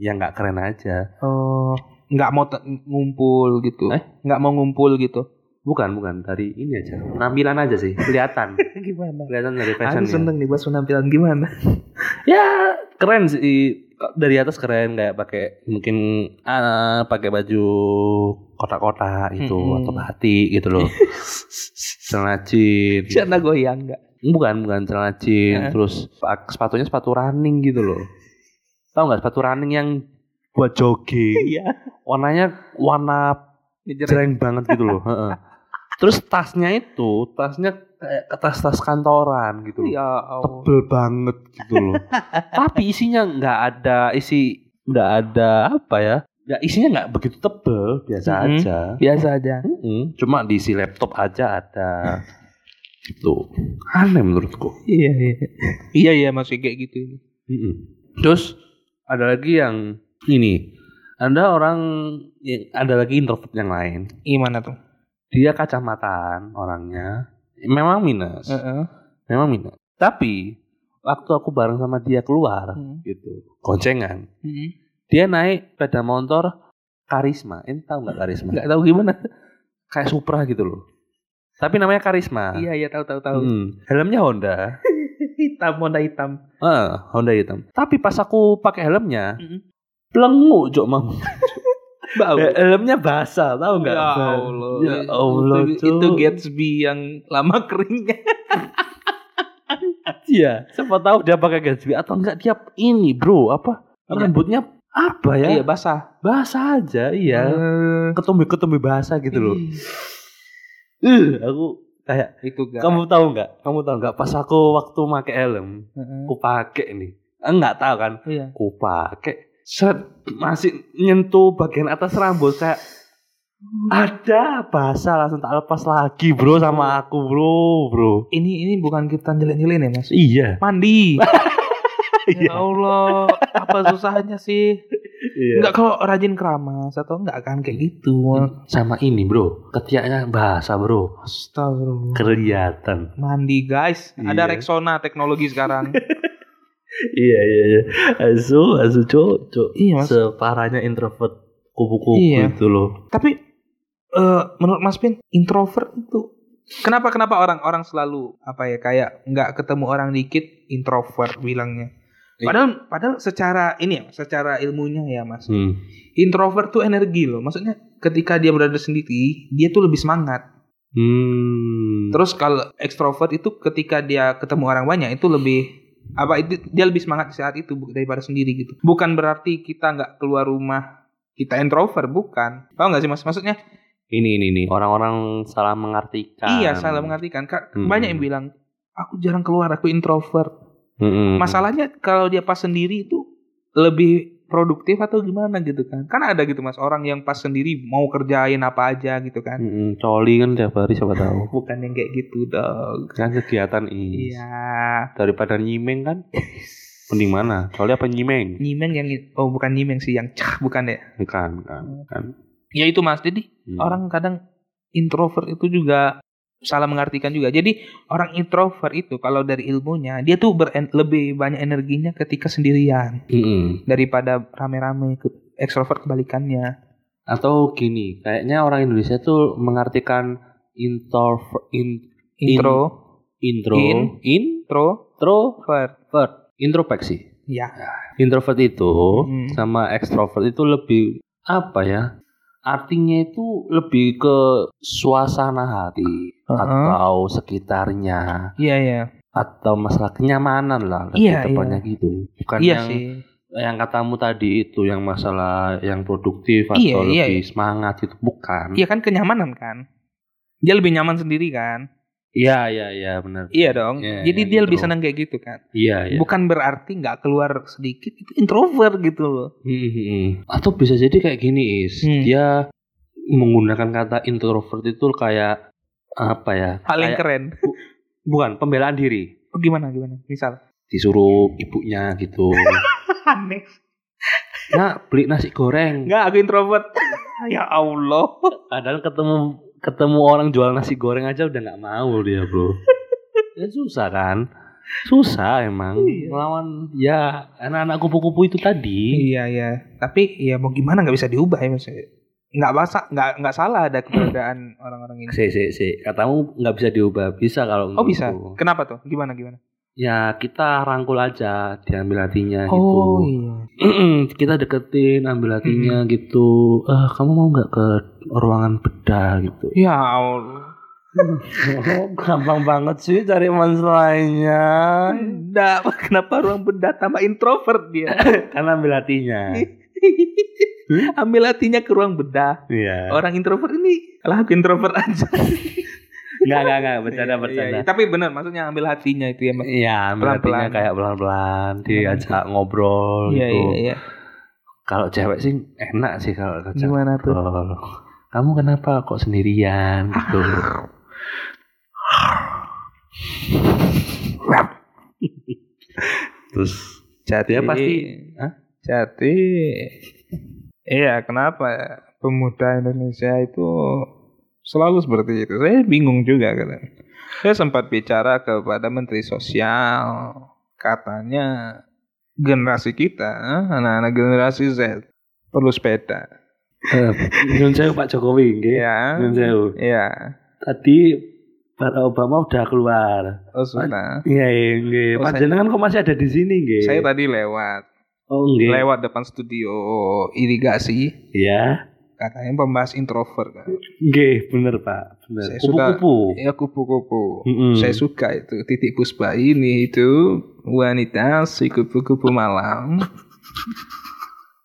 Speaker 2: yang nggak keren aja.
Speaker 1: oh nggak mau te- ngumpul gitu
Speaker 2: Eh?
Speaker 1: nggak mau ngumpul gitu
Speaker 2: Bukan bukan dari ini aja, penampilan aja sih, kelihatan,
Speaker 1: gimana
Speaker 2: kelihatan dari
Speaker 1: Aku
Speaker 2: fashionnya.
Speaker 1: seneng nih bahas penampilan gimana
Speaker 2: Ya keren sih dari atas keren kayak pakai mungkin ah, pakai baju kotak-kotak gitu
Speaker 1: Mm-mm.
Speaker 2: atau batik gitu loh. Celana jeans.
Speaker 1: Celana goyang nggak?
Speaker 2: Bukan, bukan celana
Speaker 1: Heeh.
Speaker 2: jeans, terus pak- sepatunya sepatu running gitu loh. Tahu nggak sepatu running yang buat jogging,
Speaker 1: Iya.
Speaker 2: warnanya warna
Speaker 1: Ngejar
Speaker 2: jereng banget gitu loh. heeh. Terus tasnya itu, tasnya kayak kertas-kertas kantoran gitu loh.
Speaker 1: Ya Allah.
Speaker 2: Tebel banget gitu loh. Tapi isinya nggak ada isi nggak ada apa ya? Ya isinya nggak begitu tebel, biasa
Speaker 1: Mhm.
Speaker 2: aja.
Speaker 1: Biasa aja.
Speaker 2: Mm-mm, Cuma diisi laptop aja ada. gitu. Aneh menurutku.
Speaker 1: Iya iya. iya iya masih kayak gitu. ini.
Speaker 2: Mm-mm. Terus ada lagi yang ini. Anda orang yang ada lagi introvert yang lain.
Speaker 1: Gimana tuh?
Speaker 2: Dia kacamataan orangnya. Memang minus.
Speaker 1: Heeh.
Speaker 2: Memang minus. Tapi waktu aku bareng sama dia keluar
Speaker 1: Hmm.
Speaker 2: gitu, goncengan.
Speaker 1: Hmm.
Speaker 2: Dia naik sepeda motor karisma. Ini tahu nggak karisma? Nggak tahu gimana. Kayak Supra gitu loh. Tapi namanya karisma.
Speaker 1: Iya iya tahu tahu tahu.
Speaker 2: Ah. Hmm. Helmnya Honda.
Speaker 1: hitam Honda hitam.
Speaker 2: Eh, Honda hitam. Tapi pas aku pakai helmnya,
Speaker 1: Mm-mm.
Speaker 2: pelengu jok mam.
Speaker 1: Bau.
Speaker 2: Eh, helmnya basah, tahu nggak?
Speaker 1: Ya
Speaker 2: Bang?
Speaker 1: Allah.
Speaker 2: Ya Allah.
Speaker 1: Itu, itu
Speaker 2: Cuk.
Speaker 1: Gatsby yang lama keringnya.
Speaker 2: Iya, siapa tahu dia pakai Gatsby atau enggak dia ini, Bro, apa?
Speaker 1: Iya.
Speaker 2: Rambutnya apa ya?
Speaker 1: Iya basah.
Speaker 2: Basah aja, iya.
Speaker 1: Eh,
Speaker 2: Ketombe-ketombe basah gitu loh.
Speaker 1: ih, Iya.
Speaker 2: Eh, aku kayak
Speaker 1: Itu gak.
Speaker 2: kamu tahu nggak? Kamu tahu nggak pas aku waktu pakai helm,
Speaker 1: Heeh.
Speaker 2: aku pakai nih. Enggak tahu kan?
Speaker 1: Iya.
Speaker 2: Aku pakai set masih nyentuh bagian atas rambut kayak ada basah langsung tak lepas lagi, Bro, sama aku, Bro, Bro.
Speaker 1: Ini ini bukan kita nyelin-nyelin ya, Mas.
Speaker 2: Iya.
Speaker 1: Mandi.
Speaker 2: Iya.
Speaker 1: ya Allah, apa susahnya sih?
Speaker 2: Iya.
Speaker 1: Enggak kalau rajin keramas atau enggak kan kayak gitu.
Speaker 2: sama ini bro ketiaknya bahasa bro
Speaker 1: Astagfirullah.
Speaker 2: kelihatan
Speaker 1: Mandi guys, ada
Speaker 2: Iya.
Speaker 1: Rexona teknologi sekarang.
Speaker 2: iya iya iya asu asu cok cok
Speaker 1: Iya, Mas.
Speaker 2: separahnya introvert kupu-kupu
Speaker 1: Iya.
Speaker 2: itu loh
Speaker 1: Tapi eh, menurut Mas Pin, introvert itu kenapa kenapa orang-orang selalu apa ya kayak nggak ketemu orang dikit introvert bilangnya.
Speaker 2: Iya.
Speaker 1: Padahal padahal secara ini ya, secara ilmunya ya Mas.
Speaker 2: hmm.
Speaker 1: Introvert tuh energi loh. Maksudnya ketika dia berada sendiri, dia tuh lebih semangat.
Speaker 2: Hmm.
Speaker 1: Terus kalau ekstrovert itu ketika dia ketemu orang banyak itu lebih apa itu dia lebih semangat di saat itu bu- daripada sendiri gitu. Bukan berarti kita nggak keluar rumah kita introvert bukan. Tahu nggak sih mas? Maksudnya
Speaker 2: ini ini ini orang-orang salah mengartikan
Speaker 1: iya salah mengartikan. Ka-
Speaker 2: Hmm.
Speaker 1: Banyak yang bilang aku jarang keluar, aku introvert.
Speaker 2: Mm-mm.
Speaker 1: Masalahnya kalau dia pas sendiri itu lebih produktif atau gimana gitu kan? Kan ada gitu mas orang yang pas sendiri mau kerjain apa aja gitu kan?
Speaker 2: Mm-mm. coli kan tiap hari siapa tahu
Speaker 1: Bukan yang kayak gitu dong.
Speaker 2: kan kegiatan ini
Speaker 1: Iya.
Speaker 2: daripada nyimeng kan mending mana coli apa nyimeng
Speaker 1: Nyimeng yang oh bukan nyimeng sih yang cah bukan ya?
Speaker 2: kan kan kan
Speaker 1: Ya itu Mas. Jadi
Speaker 2: Hmm.
Speaker 1: orang kadang introvert itu juga salah mengartikan juga. Jadi orang introvert itu kalau dari ilmunya dia tuh beren- lebih banyak energinya ketika sendirian
Speaker 2: Mm-mm.
Speaker 1: daripada rame-rame. Ke- Ekstrovert kebalikannya.
Speaker 2: Atau gini, kayaknya orang Indonesia tuh mengartikan introvert in,
Speaker 1: Intro,
Speaker 2: intro
Speaker 1: In.
Speaker 2: in
Speaker 1: introvert.
Speaker 2: introvert intropeksi.
Speaker 1: Ya.
Speaker 2: Introvert itu
Speaker 1: Hmm.
Speaker 2: sama ekstrovert itu lebih apa ya? Artinya itu lebih ke suasana hati
Speaker 1: Uh-uh.
Speaker 2: atau sekitarnya
Speaker 1: Iya ya.
Speaker 2: atau masalah kenyamanan lah lebih
Speaker 1: Iya,
Speaker 2: tepatnya gitu. Bukan
Speaker 1: Iya
Speaker 2: yang
Speaker 1: sih.
Speaker 2: yang katamu tadi itu yang masalah yang produktif atau
Speaker 1: Iya, iya,
Speaker 2: lebih semangat itu bukan.
Speaker 1: Iya kan kenyamanan kan. Dia lebih nyaman sendiri kan.
Speaker 2: Iya iya iya benar.
Speaker 1: Iya dong.
Speaker 2: Iya,
Speaker 1: Jadi
Speaker 2: yang
Speaker 1: dia lebih
Speaker 2: intro.
Speaker 1: senang kayak gitu kan.
Speaker 2: Iya iya.
Speaker 1: Bukan berarti nggak keluar sedikit itu introvert gitu loh.
Speaker 2: Hmm, hmm, hmm. Atau bisa jadi kayak gini is
Speaker 1: Hmm.
Speaker 2: dia menggunakan kata introvert itu kayak apa ya?
Speaker 1: Hal yang
Speaker 2: Kayak-
Speaker 1: keren.
Speaker 2: bukan pembelaan diri.
Speaker 1: Oh, gimana gimana? Misal.
Speaker 2: Disuruh ibunya gitu.
Speaker 1: Aneh.
Speaker 2: Nak beli nasi goreng.
Speaker 1: Enggak, aku introvert. ya Allah.
Speaker 2: Padahal ketemu ketemu orang jual nasi goreng aja udah nggak mau dia bro. ya, susah kan? Susah emang
Speaker 1: Iya.
Speaker 2: melawan ya anak-anak kupu-kupu itu tadi.
Speaker 1: Iya, iya. Tapi ya mau gimana nggak bisa diubah ya maksudnya. Nggak basa, nggak nggak salah ada keberadaan orang-orang ini.
Speaker 2: Si, si, si. Katamu nggak bisa diubah, bisa kalau
Speaker 1: Iya. Oh bisa.
Speaker 2: menurutku.
Speaker 1: Kenapa tuh? Gimana gimana?
Speaker 2: ya kita rangkul aja diambil hatinya gitu
Speaker 1: iya.
Speaker 2: kita deketin ambil hatinya gitu ah kamu mau nggak ke ruangan bedah gitu
Speaker 1: Ya Allah.
Speaker 2: oh, gampang banget sih cari masalahnya
Speaker 1: Enggak, kenapa ruang benda tambah introvert dia?
Speaker 2: karena Kan ambil hatinya
Speaker 1: Iya. Ambil hatinya ke ruang bedah.
Speaker 2: iya
Speaker 1: Orang introvert ini, lah aku introvert aja.
Speaker 2: Enggak, enggak, enggak, bercanda,
Speaker 1: Iya, iya,
Speaker 2: bercanda.
Speaker 1: iya. Tapi benar maksudnya ambil hatinya itu ya. Mas.
Speaker 2: Iya,
Speaker 1: Pelan-pelan.
Speaker 2: pelan kayak pelan-pelan diajak ngobrol
Speaker 1: Iya,
Speaker 2: gitu.
Speaker 1: iya, iya.
Speaker 2: Kalau cewek sih enak sih kalau diajak
Speaker 1: Gimana tuh?
Speaker 2: ngobrol. Kamu kenapa kok sendirian gitu? Terus
Speaker 1: Jati.
Speaker 2: Dia pasti- Hah?
Speaker 1: Jati. Iya, kenapa pemuda Indonesia itu selalu seperti itu? Saya bingung juga kan. Saya sempat bicara kepada Menteri Sosial, katanya generasi kita, eh, anak-anak generasi Z perlu sepeda.
Speaker 2: Nyun sewu eh, Pak Jokowi nggih.
Speaker 1: Iya.
Speaker 2: Nyun sewu.
Speaker 1: Iya.
Speaker 2: Tadi Barack Obama udah keluar.
Speaker 1: Oh, sudah.
Speaker 2: Iya, iya, nggih.
Speaker 1: Oh, saya-
Speaker 2: Panjenengan kok masih ada di sini nggih?
Speaker 1: Saya tadi lewat,
Speaker 2: Oh, nggih.
Speaker 1: lewat depan studio irigasi,
Speaker 2: Iya.
Speaker 1: katanya pembahas introvert kan.
Speaker 2: Nggih, bener Pak. Bener.
Speaker 1: Saya sudah-
Speaker 2: Kupu-kupu.
Speaker 1: Ya kupu-kupu.
Speaker 2: Mm-mm.
Speaker 1: Saya suka itu titik puspa ini itu wanita si kupu-kupu malam.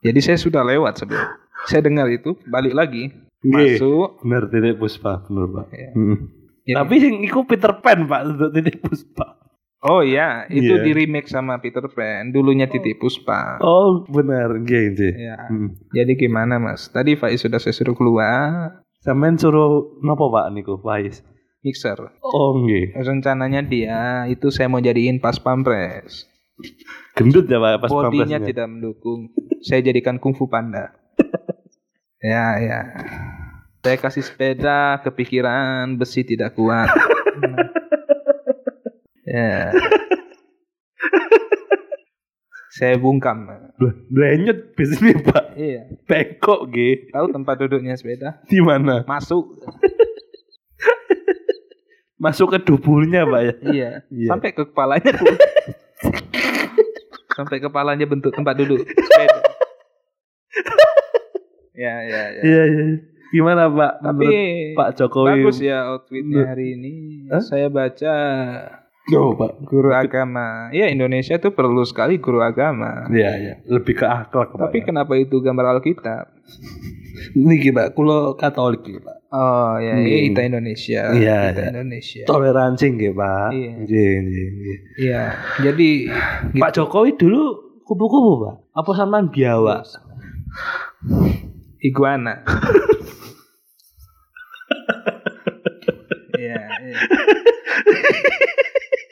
Speaker 1: Jadi saya sudah lewat sebelum. Saya dengar itu balik lagi
Speaker 2: Nggih.
Speaker 1: masuk.
Speaker 2: Bener titik puspa, bener Pak.
Speaker 1: Iya.
Speaker 2: Mm.
Speaker 1: Jadi-
Speaker 2: Tapi sing iku Peter Pan Pak untuk titik puspa.
Speaker 1: oh iya itu
Speaker 2: Iya.
Speaker 1: di remake sama Peter Pan dulunya titik puspa.
Speaker 2: Oh, bener nggih nggih.
Speaker 1: Ya.
Speaker 2: Mm.
Speaker 1: Jadi gimana mas? Tadi Faiz sudah saya suruh keluar
Speaker 2: Sampeyan suruh nopo Pak niku, Faiz?
Speaker 1: mixer.
Speaker 2: Oh, nggih.
Speaker 1: Rencananya dia itu saya mau jadiin pas pampres.
Speaker 2: Gendut ya Pak pas
Speaker 1: Bodinya
Speaker 2: pampresnya.
Speaker 1: tidak mendukung. Saya jadikan kungfu panda. ya, ya. Saya kasih sepeda, kepikiran, besi tidak kuat. Nah. ya. Saya bungkam.
Speaker 2: Loh, Blenyet bisnis Pak.
Speaker 1: Iya.
Speaker 2: Bengkok nggih.
Speaker 1: Tahu tempat duduknya sepeda?
Speaker 2: Di mana?
Speaker 1: Masuk.
Speaker 2: Masuk ke duburnya Pak ya.
Speaker 1: Iya.
Speaker 2: Iya.
Speaker 1: Sampai ke kepalanya. tuh. Sampai kepalanya bentuk tempat duduk sepeda. ya, ya, ya.
Speaker 2: Iya, iya. Gimana Pak?
Speaker 1: Tapi
Speaker 2: Menurut Pak Jokowi.
Speaker 1: Bagus ya outfitnya hari ini.
Speaker 2: Hah?
Speaker 1: Saya baca
Speaker 2: Oh, Pak.
Speaker 1: guru agama. Ya Indonesia tuh perlu sekali guru agama.
Speaker 2: Iya, iya. Lebih ke akhlak Pak.
Speaker 1: Tapi
Speaker 2: ya.
Speaker 1: kenapa itu gambar Alkitab?
Speaker 2: Niki Pak, kulo Katolik nggih, Pak.
Speaker 1: Oh ya,
Speaker 2: Hmm.
Speaker 1: ya, kita Indonesia.
Speaker 2: Iya,
Speaker 1: kita
Speaker 2: iya.
Speaker 1: Indonesia.
Speaker 2: Toleransi nggih, Pak.
Speaker 1: Iya.
Speaker 2: Nggih, nggih, nggih.
Speaker 1: Iya. Jadi gitu.
Speaker 2: Pak Jokowi dulu kupu-kupu pak? Apa Iya, sampean biawak?
Speaker 1: iguana. Iya, iya.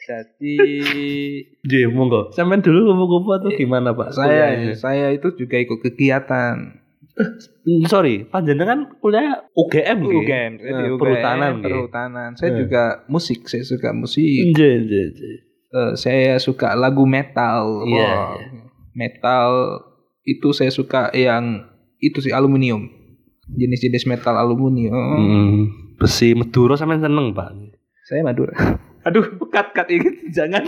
Speaker 1: Jadi
Speaker 2: Jadi monggo. Sampean dulu kupu-kupu atau gimana pak?
Speaker 1: saya saya itu juga ikut kegiatan
Speaker 2: Kuliahnya. Hmm, sorry, panjenengan kan kuliah UGM nggih?
Speaker 1: UGM, saya di
Speaker 2: Eh,
Speaker 1: UGM,
Speaker 2: perhutanan nggih.
Speaker 1: perhutanan. Saya
Speaker 2: Eh. Hmm.
Speaker 1: juga musik, saya suka musik.
Speaker 2: Nggih, nggih, nggih.
Speaker 1: Eh, saya suka lagu metal.
Speaker 2: Iya,
Speaker 1: Wah,
Speaker 2: iya.
Speaker 1: Metal itu saya suka yang itu sih aluminium. Jenis-jenis metal aluminium.
Speaker 2: Hmm, Besi Madura sampean seneng pak?
Speaker 1: Saya Madura. Aduh, cut cut ini jangan.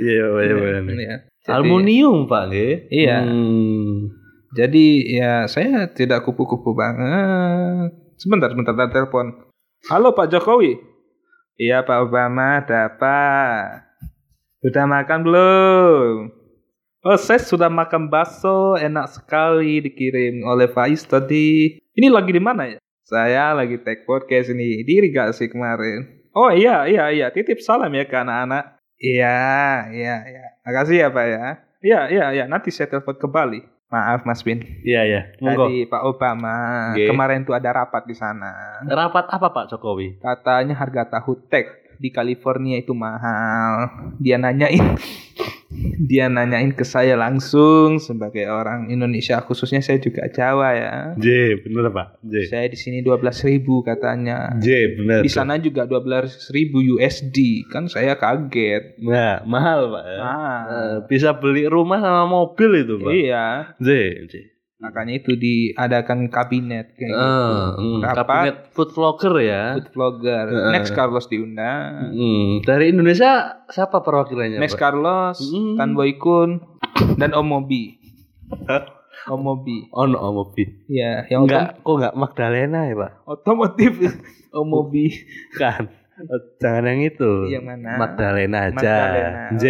Speaker 2: Iya, iya,
Speaker 1: Iya. Jadi-
Speaker 2: Aluminium pak nggih?
Speaker 1: Iya.
Speaker 2: Hmm.
Speaker 1: Jadi ya saya tidak kupu-kupu banget. Sebentar, sebentar ada telepon. Halo Pak Jokowi. Iya Pak Obama, ada apa? Sudah makan belum? Oh, saya sudah makan bakso, enak sekali dikirim oleh Faiz tadi. Ini lagi di mana ya? Saya lagi take podcast ini di irigasi kemarin. Oh iya, iya, iya. Titip salam ya ke anak-anak. Iya, iya, iya. Makasih ya Pak ya. Iya, iya, iya. Nanti saya telepon ke Bali. Maaf Mas Bin.
Speaker 2: Iya, iya. Monggo.
Speaker 1: Tadi Pak Obama
Speaker 2: Oke.
Speaker 1: kemarin tuh ada rapat di sana.
Speaker 2: Rapat apa pak Jokowi?
Speaker 1: Katanya harga tahu tek di California itu mahal. Dia nanyain dia nanyain ke saya langsung sebagai orang Indonesia khususnya saya juga Jawa ya.
Speaker 2: J, bener pak. J,
Speaker 1: Saya di sini 12.000 katanya.
Speaker 2: J, bener.
Speaker 1: Di sana juga 12.000 USD. Kan saya kaget.
Speaker 2: Nah, mahal pak. ya. Eh,
Speaker 1: Nah,
Speaker 2: bisa beli rumah sama mobil itu pak. Eh,
Speaker 1: iya.
Speaker 2: J, J.
Speaker 1: Makanya itu diadakan kabinet kayak gitu.
Speaker 2: Hmm,
Speaker 1: Rapat.
Speaker 2: kabinet food vlogger ya.
Speaker 1: Food vlogger.
Speaker 2: Heeh.
Speaker 1: Next Carlos diundang.
Speaker 2: Hmm, dari Indonesia siapa perwakilannya?
Speaker 1: Next
Speaker 2: Iya, Pak?
Speaker 1: Carlos,
Speaker 2: Mm.
Speaker 1: Tan Boy Kun, dan Omobi. Omobi.
Speaker 2: Oh, no, Mobi.
Speaker 1: Ya, yang
Speaker 2: Enggak, kok enggak Magdalena ya, Pak?
Speaker 1: otom- otomotif Omobi.
Speaker 2: Kan. Jangan yang itu.
Speaker 1: Yang Iya, mana?
Speaker 2: Magdalena aja.
Speaker 1: Magdalena.
Speaker 2: J.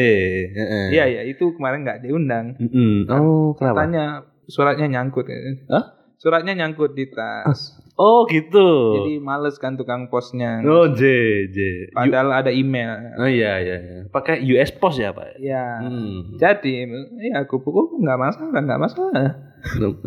Speaker 2: Heeh.
Speaker 1: Iya, Kan ya, itu kemarin nggak diundang.
Speaker 2: Mm-mm. Oh, kenapa?
Speaker 1: Tanya suratnya nyangkut. ya.
Speaker 2: Hah?
Speaker 1: Suratnya nyangkut di tas.
Speaker 2: Oh gitu.
Speaker 1: Jadi males kan tukang posnya.
Speaker 2: oh J J. U-
Speaker 1: Padahal ada email.
Speaker 2: oh iya iya. iya. Pakai US Post ya pak?
Speaker 1: Ya.
Speaker 2: Hmm.
Speaker 1: Jadi ya kupu-kupu nggak masalah, nggak masalah.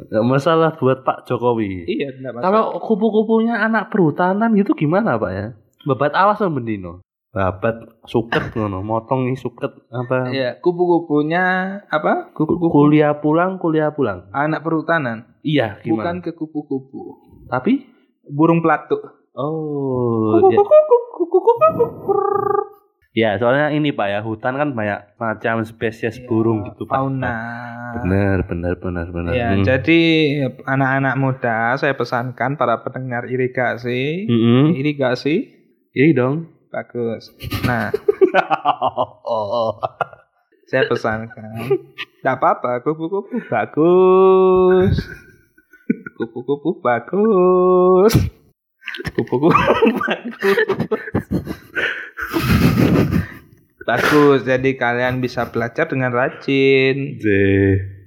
Speaker 2: Nggak masalah buat Pak Jokowi.
Speaker 1: Iya, nggak masalah.
Speaker 2: Kalau kupu-kupunya anak perhutanan gitu gimana pak ya? Babat alas sama Bendino. Babat suket ngono, motong nih suket apa?
Speaker 1: ya kupu-kupunya apa? Kupu-kupu
Speaker 2: Kuliah pulang, kuliah pulang.
Speaker 1: anak perhutanan,
Speaker 2: Iya,
Speaker 1: bukan
Speaker 2: gimana?
Speaker 1: ke kupu-kupu.
Speaker 2: Tapi
Speaker 1: Burung pelatuk.
Speaker 2: oh ya. Ya, soalnya ini Pak ya, hutan kan banyak macam spesies burung gitu Pak.
Speaker 1: Fauna.
Speaker 2: Bener, bener, bener, bener.
Speaker 1: Ya,
Speaker 2: Hmm.
Speaker 1: jadi anak-anak muda saya pesankan para pendengar irigasi,
Speaker 2: Mm-mm.
Speaker 1: irigasi
Speaker 2: Ini dong.
Speaker 1: bagus. Nah, saya pesankan. Tidak apa-apa, kupu-kupu bagus. Kupu-kupu bagus. Kupu-kupu bagus. bagus, jadi kalian bisa belajar dengan rajin.
Speaker 2: J,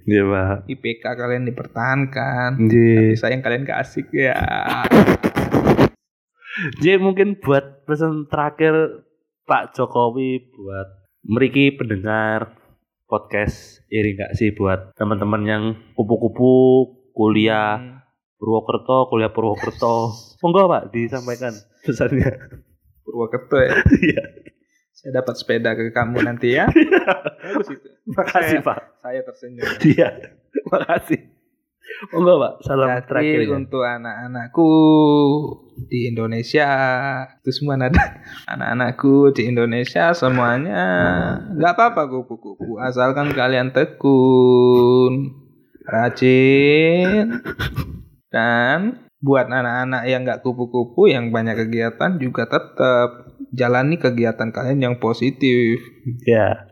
Speaker 2: ya Pak.
Speaker 1: IPK kalian dipertahankan.
Speaker 2: J,
Speaker 1: Tapi sayang kalian gak asik ya.
Speaker 2: J mungkin buat pesan terakhir Pak Jokowi buat meriki pendengar podcast iri nggak sih buat teman-teman yang kupu-kupu kuliah
Speaker 1: Hmm.
Speaker 2: Purwokerto, kuliah Purwokerto. Monggo Pak disampaikan pesannya.
Speaker 1: Purwokerto ya.
Speaker 2: Iya.
Speaker 1: Saya dapat sepeda ke kamu nanti ya. Bagus itu.
Speaker 2: Makasih Pak.
Speaker 1: Saya tersenyum.
Speaker 2: Iya. Makasih. Monggo Pak, salam terakhir. ya.
Speaker 1: Jadi untuk anak-anakku di Indonesia itu semua ada anak-anakku di Indonesia semuanya nggak apa-apa kupu-kupu asalkan kalian tekun rajin dan buat anak-anak yang nggak kupu-kupu yang banyak kegiatan juga tetap jalani kegiatan kalian yang positif
Speaker 2: Ya.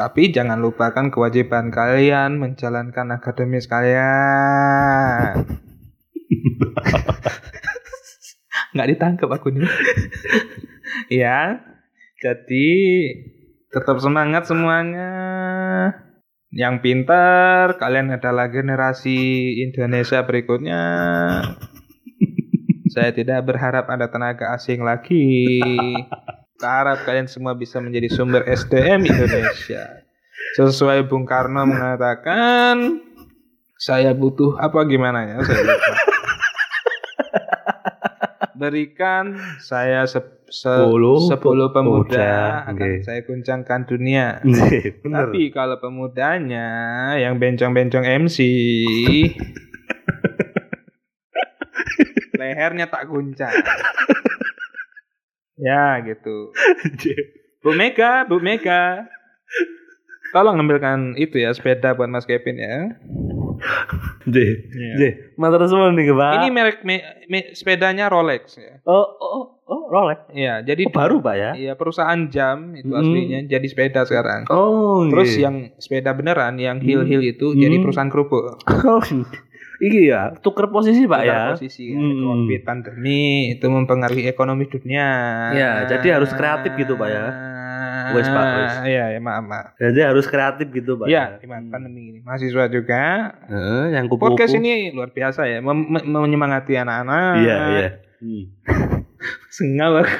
Speaker 1: tapi jangan lupakan kewajiban kalian menjalankan akademis kalian. Nggak ditangkap aku nih. ya, jadi tetap semangat semuanya. Yang pintar, kalian adalah generasi Indonesia berikutnya. Saya tidak berharap ada tenaga asing lagi. Harap kalian semua bisa menjadi sumber SDM Indonesia. Sesuai Bung Karno mengatakan, saya butuh apa gimana ya? Saya lupa. Berikan saya se- se-
Speaker 2: Sepuluh
Speaker 1: 10 pemuda
Speaker 2: pemuda,
Speaker 1: akan
Speaker 2: oke.
Speaker 1: saya guncangkan dunia.
Speaker 2: Bener.
Speaker 1: Tapi kalau pemudanya yang bencong-bencong MC lehernya tak guncang. ya gitu. Bu Mega, Bu Mega. Tolong ambilkan itu ya sepeda buat Mas Kevin ya.
Speaker 2: J, J, matur suwun nih Pak.
Speaker 1: Ini merek me- me- sepedanya Rolex ya.
Speaker 2: oh, oh, oh, Rolex.
Speaker 1: Iya, jadi
Speaker 2: Oh, baru Pak ya?
Speaker 1: Iya, perusahaan jam itu
Speaker 2: Hmm.
Speaker 1: aslinya jadi sepeda sekarang.
Speaker 2: Oh,
Speaker 1: Terus
Speaker 2: nggih.
Speaker 1: yang sepeda beneran yang
Speaker 2: Hmm.
Speaker 1: heel-heel itu
Speaker 2: Hmm.
Speaker 1: jadi perusahaan kerupuk.
Speaker 2: Oh, Iki ya, tuker posisi Pak
Speaker 1: Tukar
Speaker 2: ya.
Speaker 1: posisi
Speaker 2: Hmm.
Speaker 1: covid pandemi itu mempengaruhi ekonomi dunia Ah.
Speaker 2: Ya, jadi harus kreatif gitu, Pak, ya. Wes, Pak, wes.
Speaker 1: iya ya maaf maaf
Speaker 2: Jadi harus kreatif gitu Pak.
Speaker 1: ya di
Speaker 2: Hmm.
Speaker 1: pandemi ini mahasiswa juga
Speaker 2: Heeh, yang kupu-kupu.
Speaker 1: podcast ini luar biasa ya mem- mem- menyemangati anak-anak
Speaker 2: Iya, iya. Hmm.
Speaker 1: sengal aku.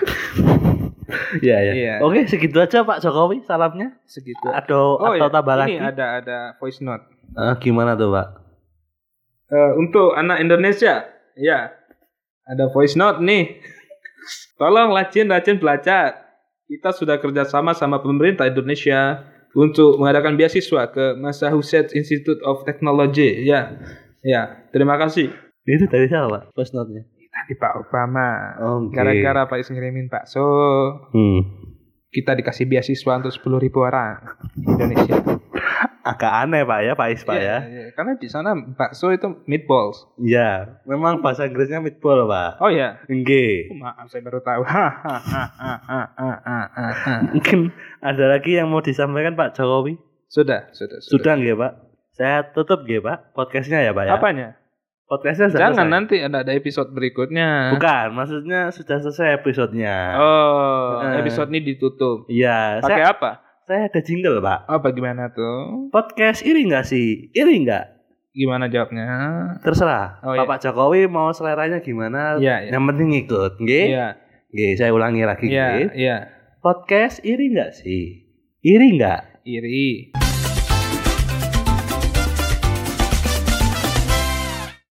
Speaker 2: Iya, iya.
Speaker 1: Iya.
Speaker 2: Oke, segitu aja Pak Jokowi salamnya.
Speaker 1: segitu
Speaker 2: Atau
Speaker 1: iya,
Speaker 2: atau tambah lagi.
Speaker 1: ini ada ada voice note
Speaker 2: Eh, gimana tuh Pak?
Speaker 1: Eh, untuk anak Indonesia ya ada voice note nih tolong rajin-rajin belajar kita sudah kerjasama sama pemerintah Indonesia untuk mengadakan beasiswa ke Massachusetts Institute of Technology ya ya terima kasih
Speaker 2: Itu tadi siapa Pak? Post note-nya.
Speaker 1: tadi Pak Obama
Speaker 2: Oke.
Speaker 1: gara-gara Pak Is ngirimin bakso
Speaker 2: hmm.
Speaker 1: kita dikasih beasiswa untuk 10.000 orang di Indonesia
Speaker 2: agak aneh Pak ya, Pak Is Pak
Speaker 1: Iya,
Speaker 2: ya.
Speaker 1: iya. karena di sana bakso itu meatballs
Speaker 2: Iya, memang bahasa Inggrisnya meatball, Pak.
Speaker 1: oh ya
Speaker 2: Nggih.
Speaker 1: maaf saya baru tahu Hahaha.
Speaker 2: Mungkin ada lagi yang mau disampaikan Pak Jokowi?
Speaker 1: Sudah, sudah, sudah.
Speaker 2: Sudah nggih, Pak. Saya tutup nggih, Pak. Podcastnya ya, Pak ya.
Speaker 1: Apanya?
Speaker 2: Podcastnya sudah
Speaker 1: Jangan
Speaker 2: selesai.
Speaker 1: nanti ada ada episode berikutnya.
Speaker 2: Bukan, maksudnya sudah selesai episodenya.
Speaker 1: Oh,
Speaker 2: Eh.
Speaker 1: episode ini ditutup.
Speaker 2: Iya,
Speaker 1: Pakai
Speaker 2: saya
Speaker 1: apa?
Speaker 2: saya ada jingle, Pak.
Speaker 1: Oh, bagaimana tuh?
Speaker 2: Podcast iri nggak sih? Iri nggak?
Speaker 1: Gimana jawabnya?
Speaker 2: Terserah.
Speaker 1: Oh, iya.
Speaker 2: Bapak Jokowi mau seleranya gimana?
Speaker 1: Iya, iya.
Speaker 2: Yang penting ikut, nggih.
Speaker 1: Iya,
Speaker 2: Nggih, saya ulangi lagi
Speaker 1: iya,
Speaker 2: nggih.
Speaker 1: iya.
Speaker 2: Podcast iri nggak sih? Iri nggak?
Speaker 1: Iri.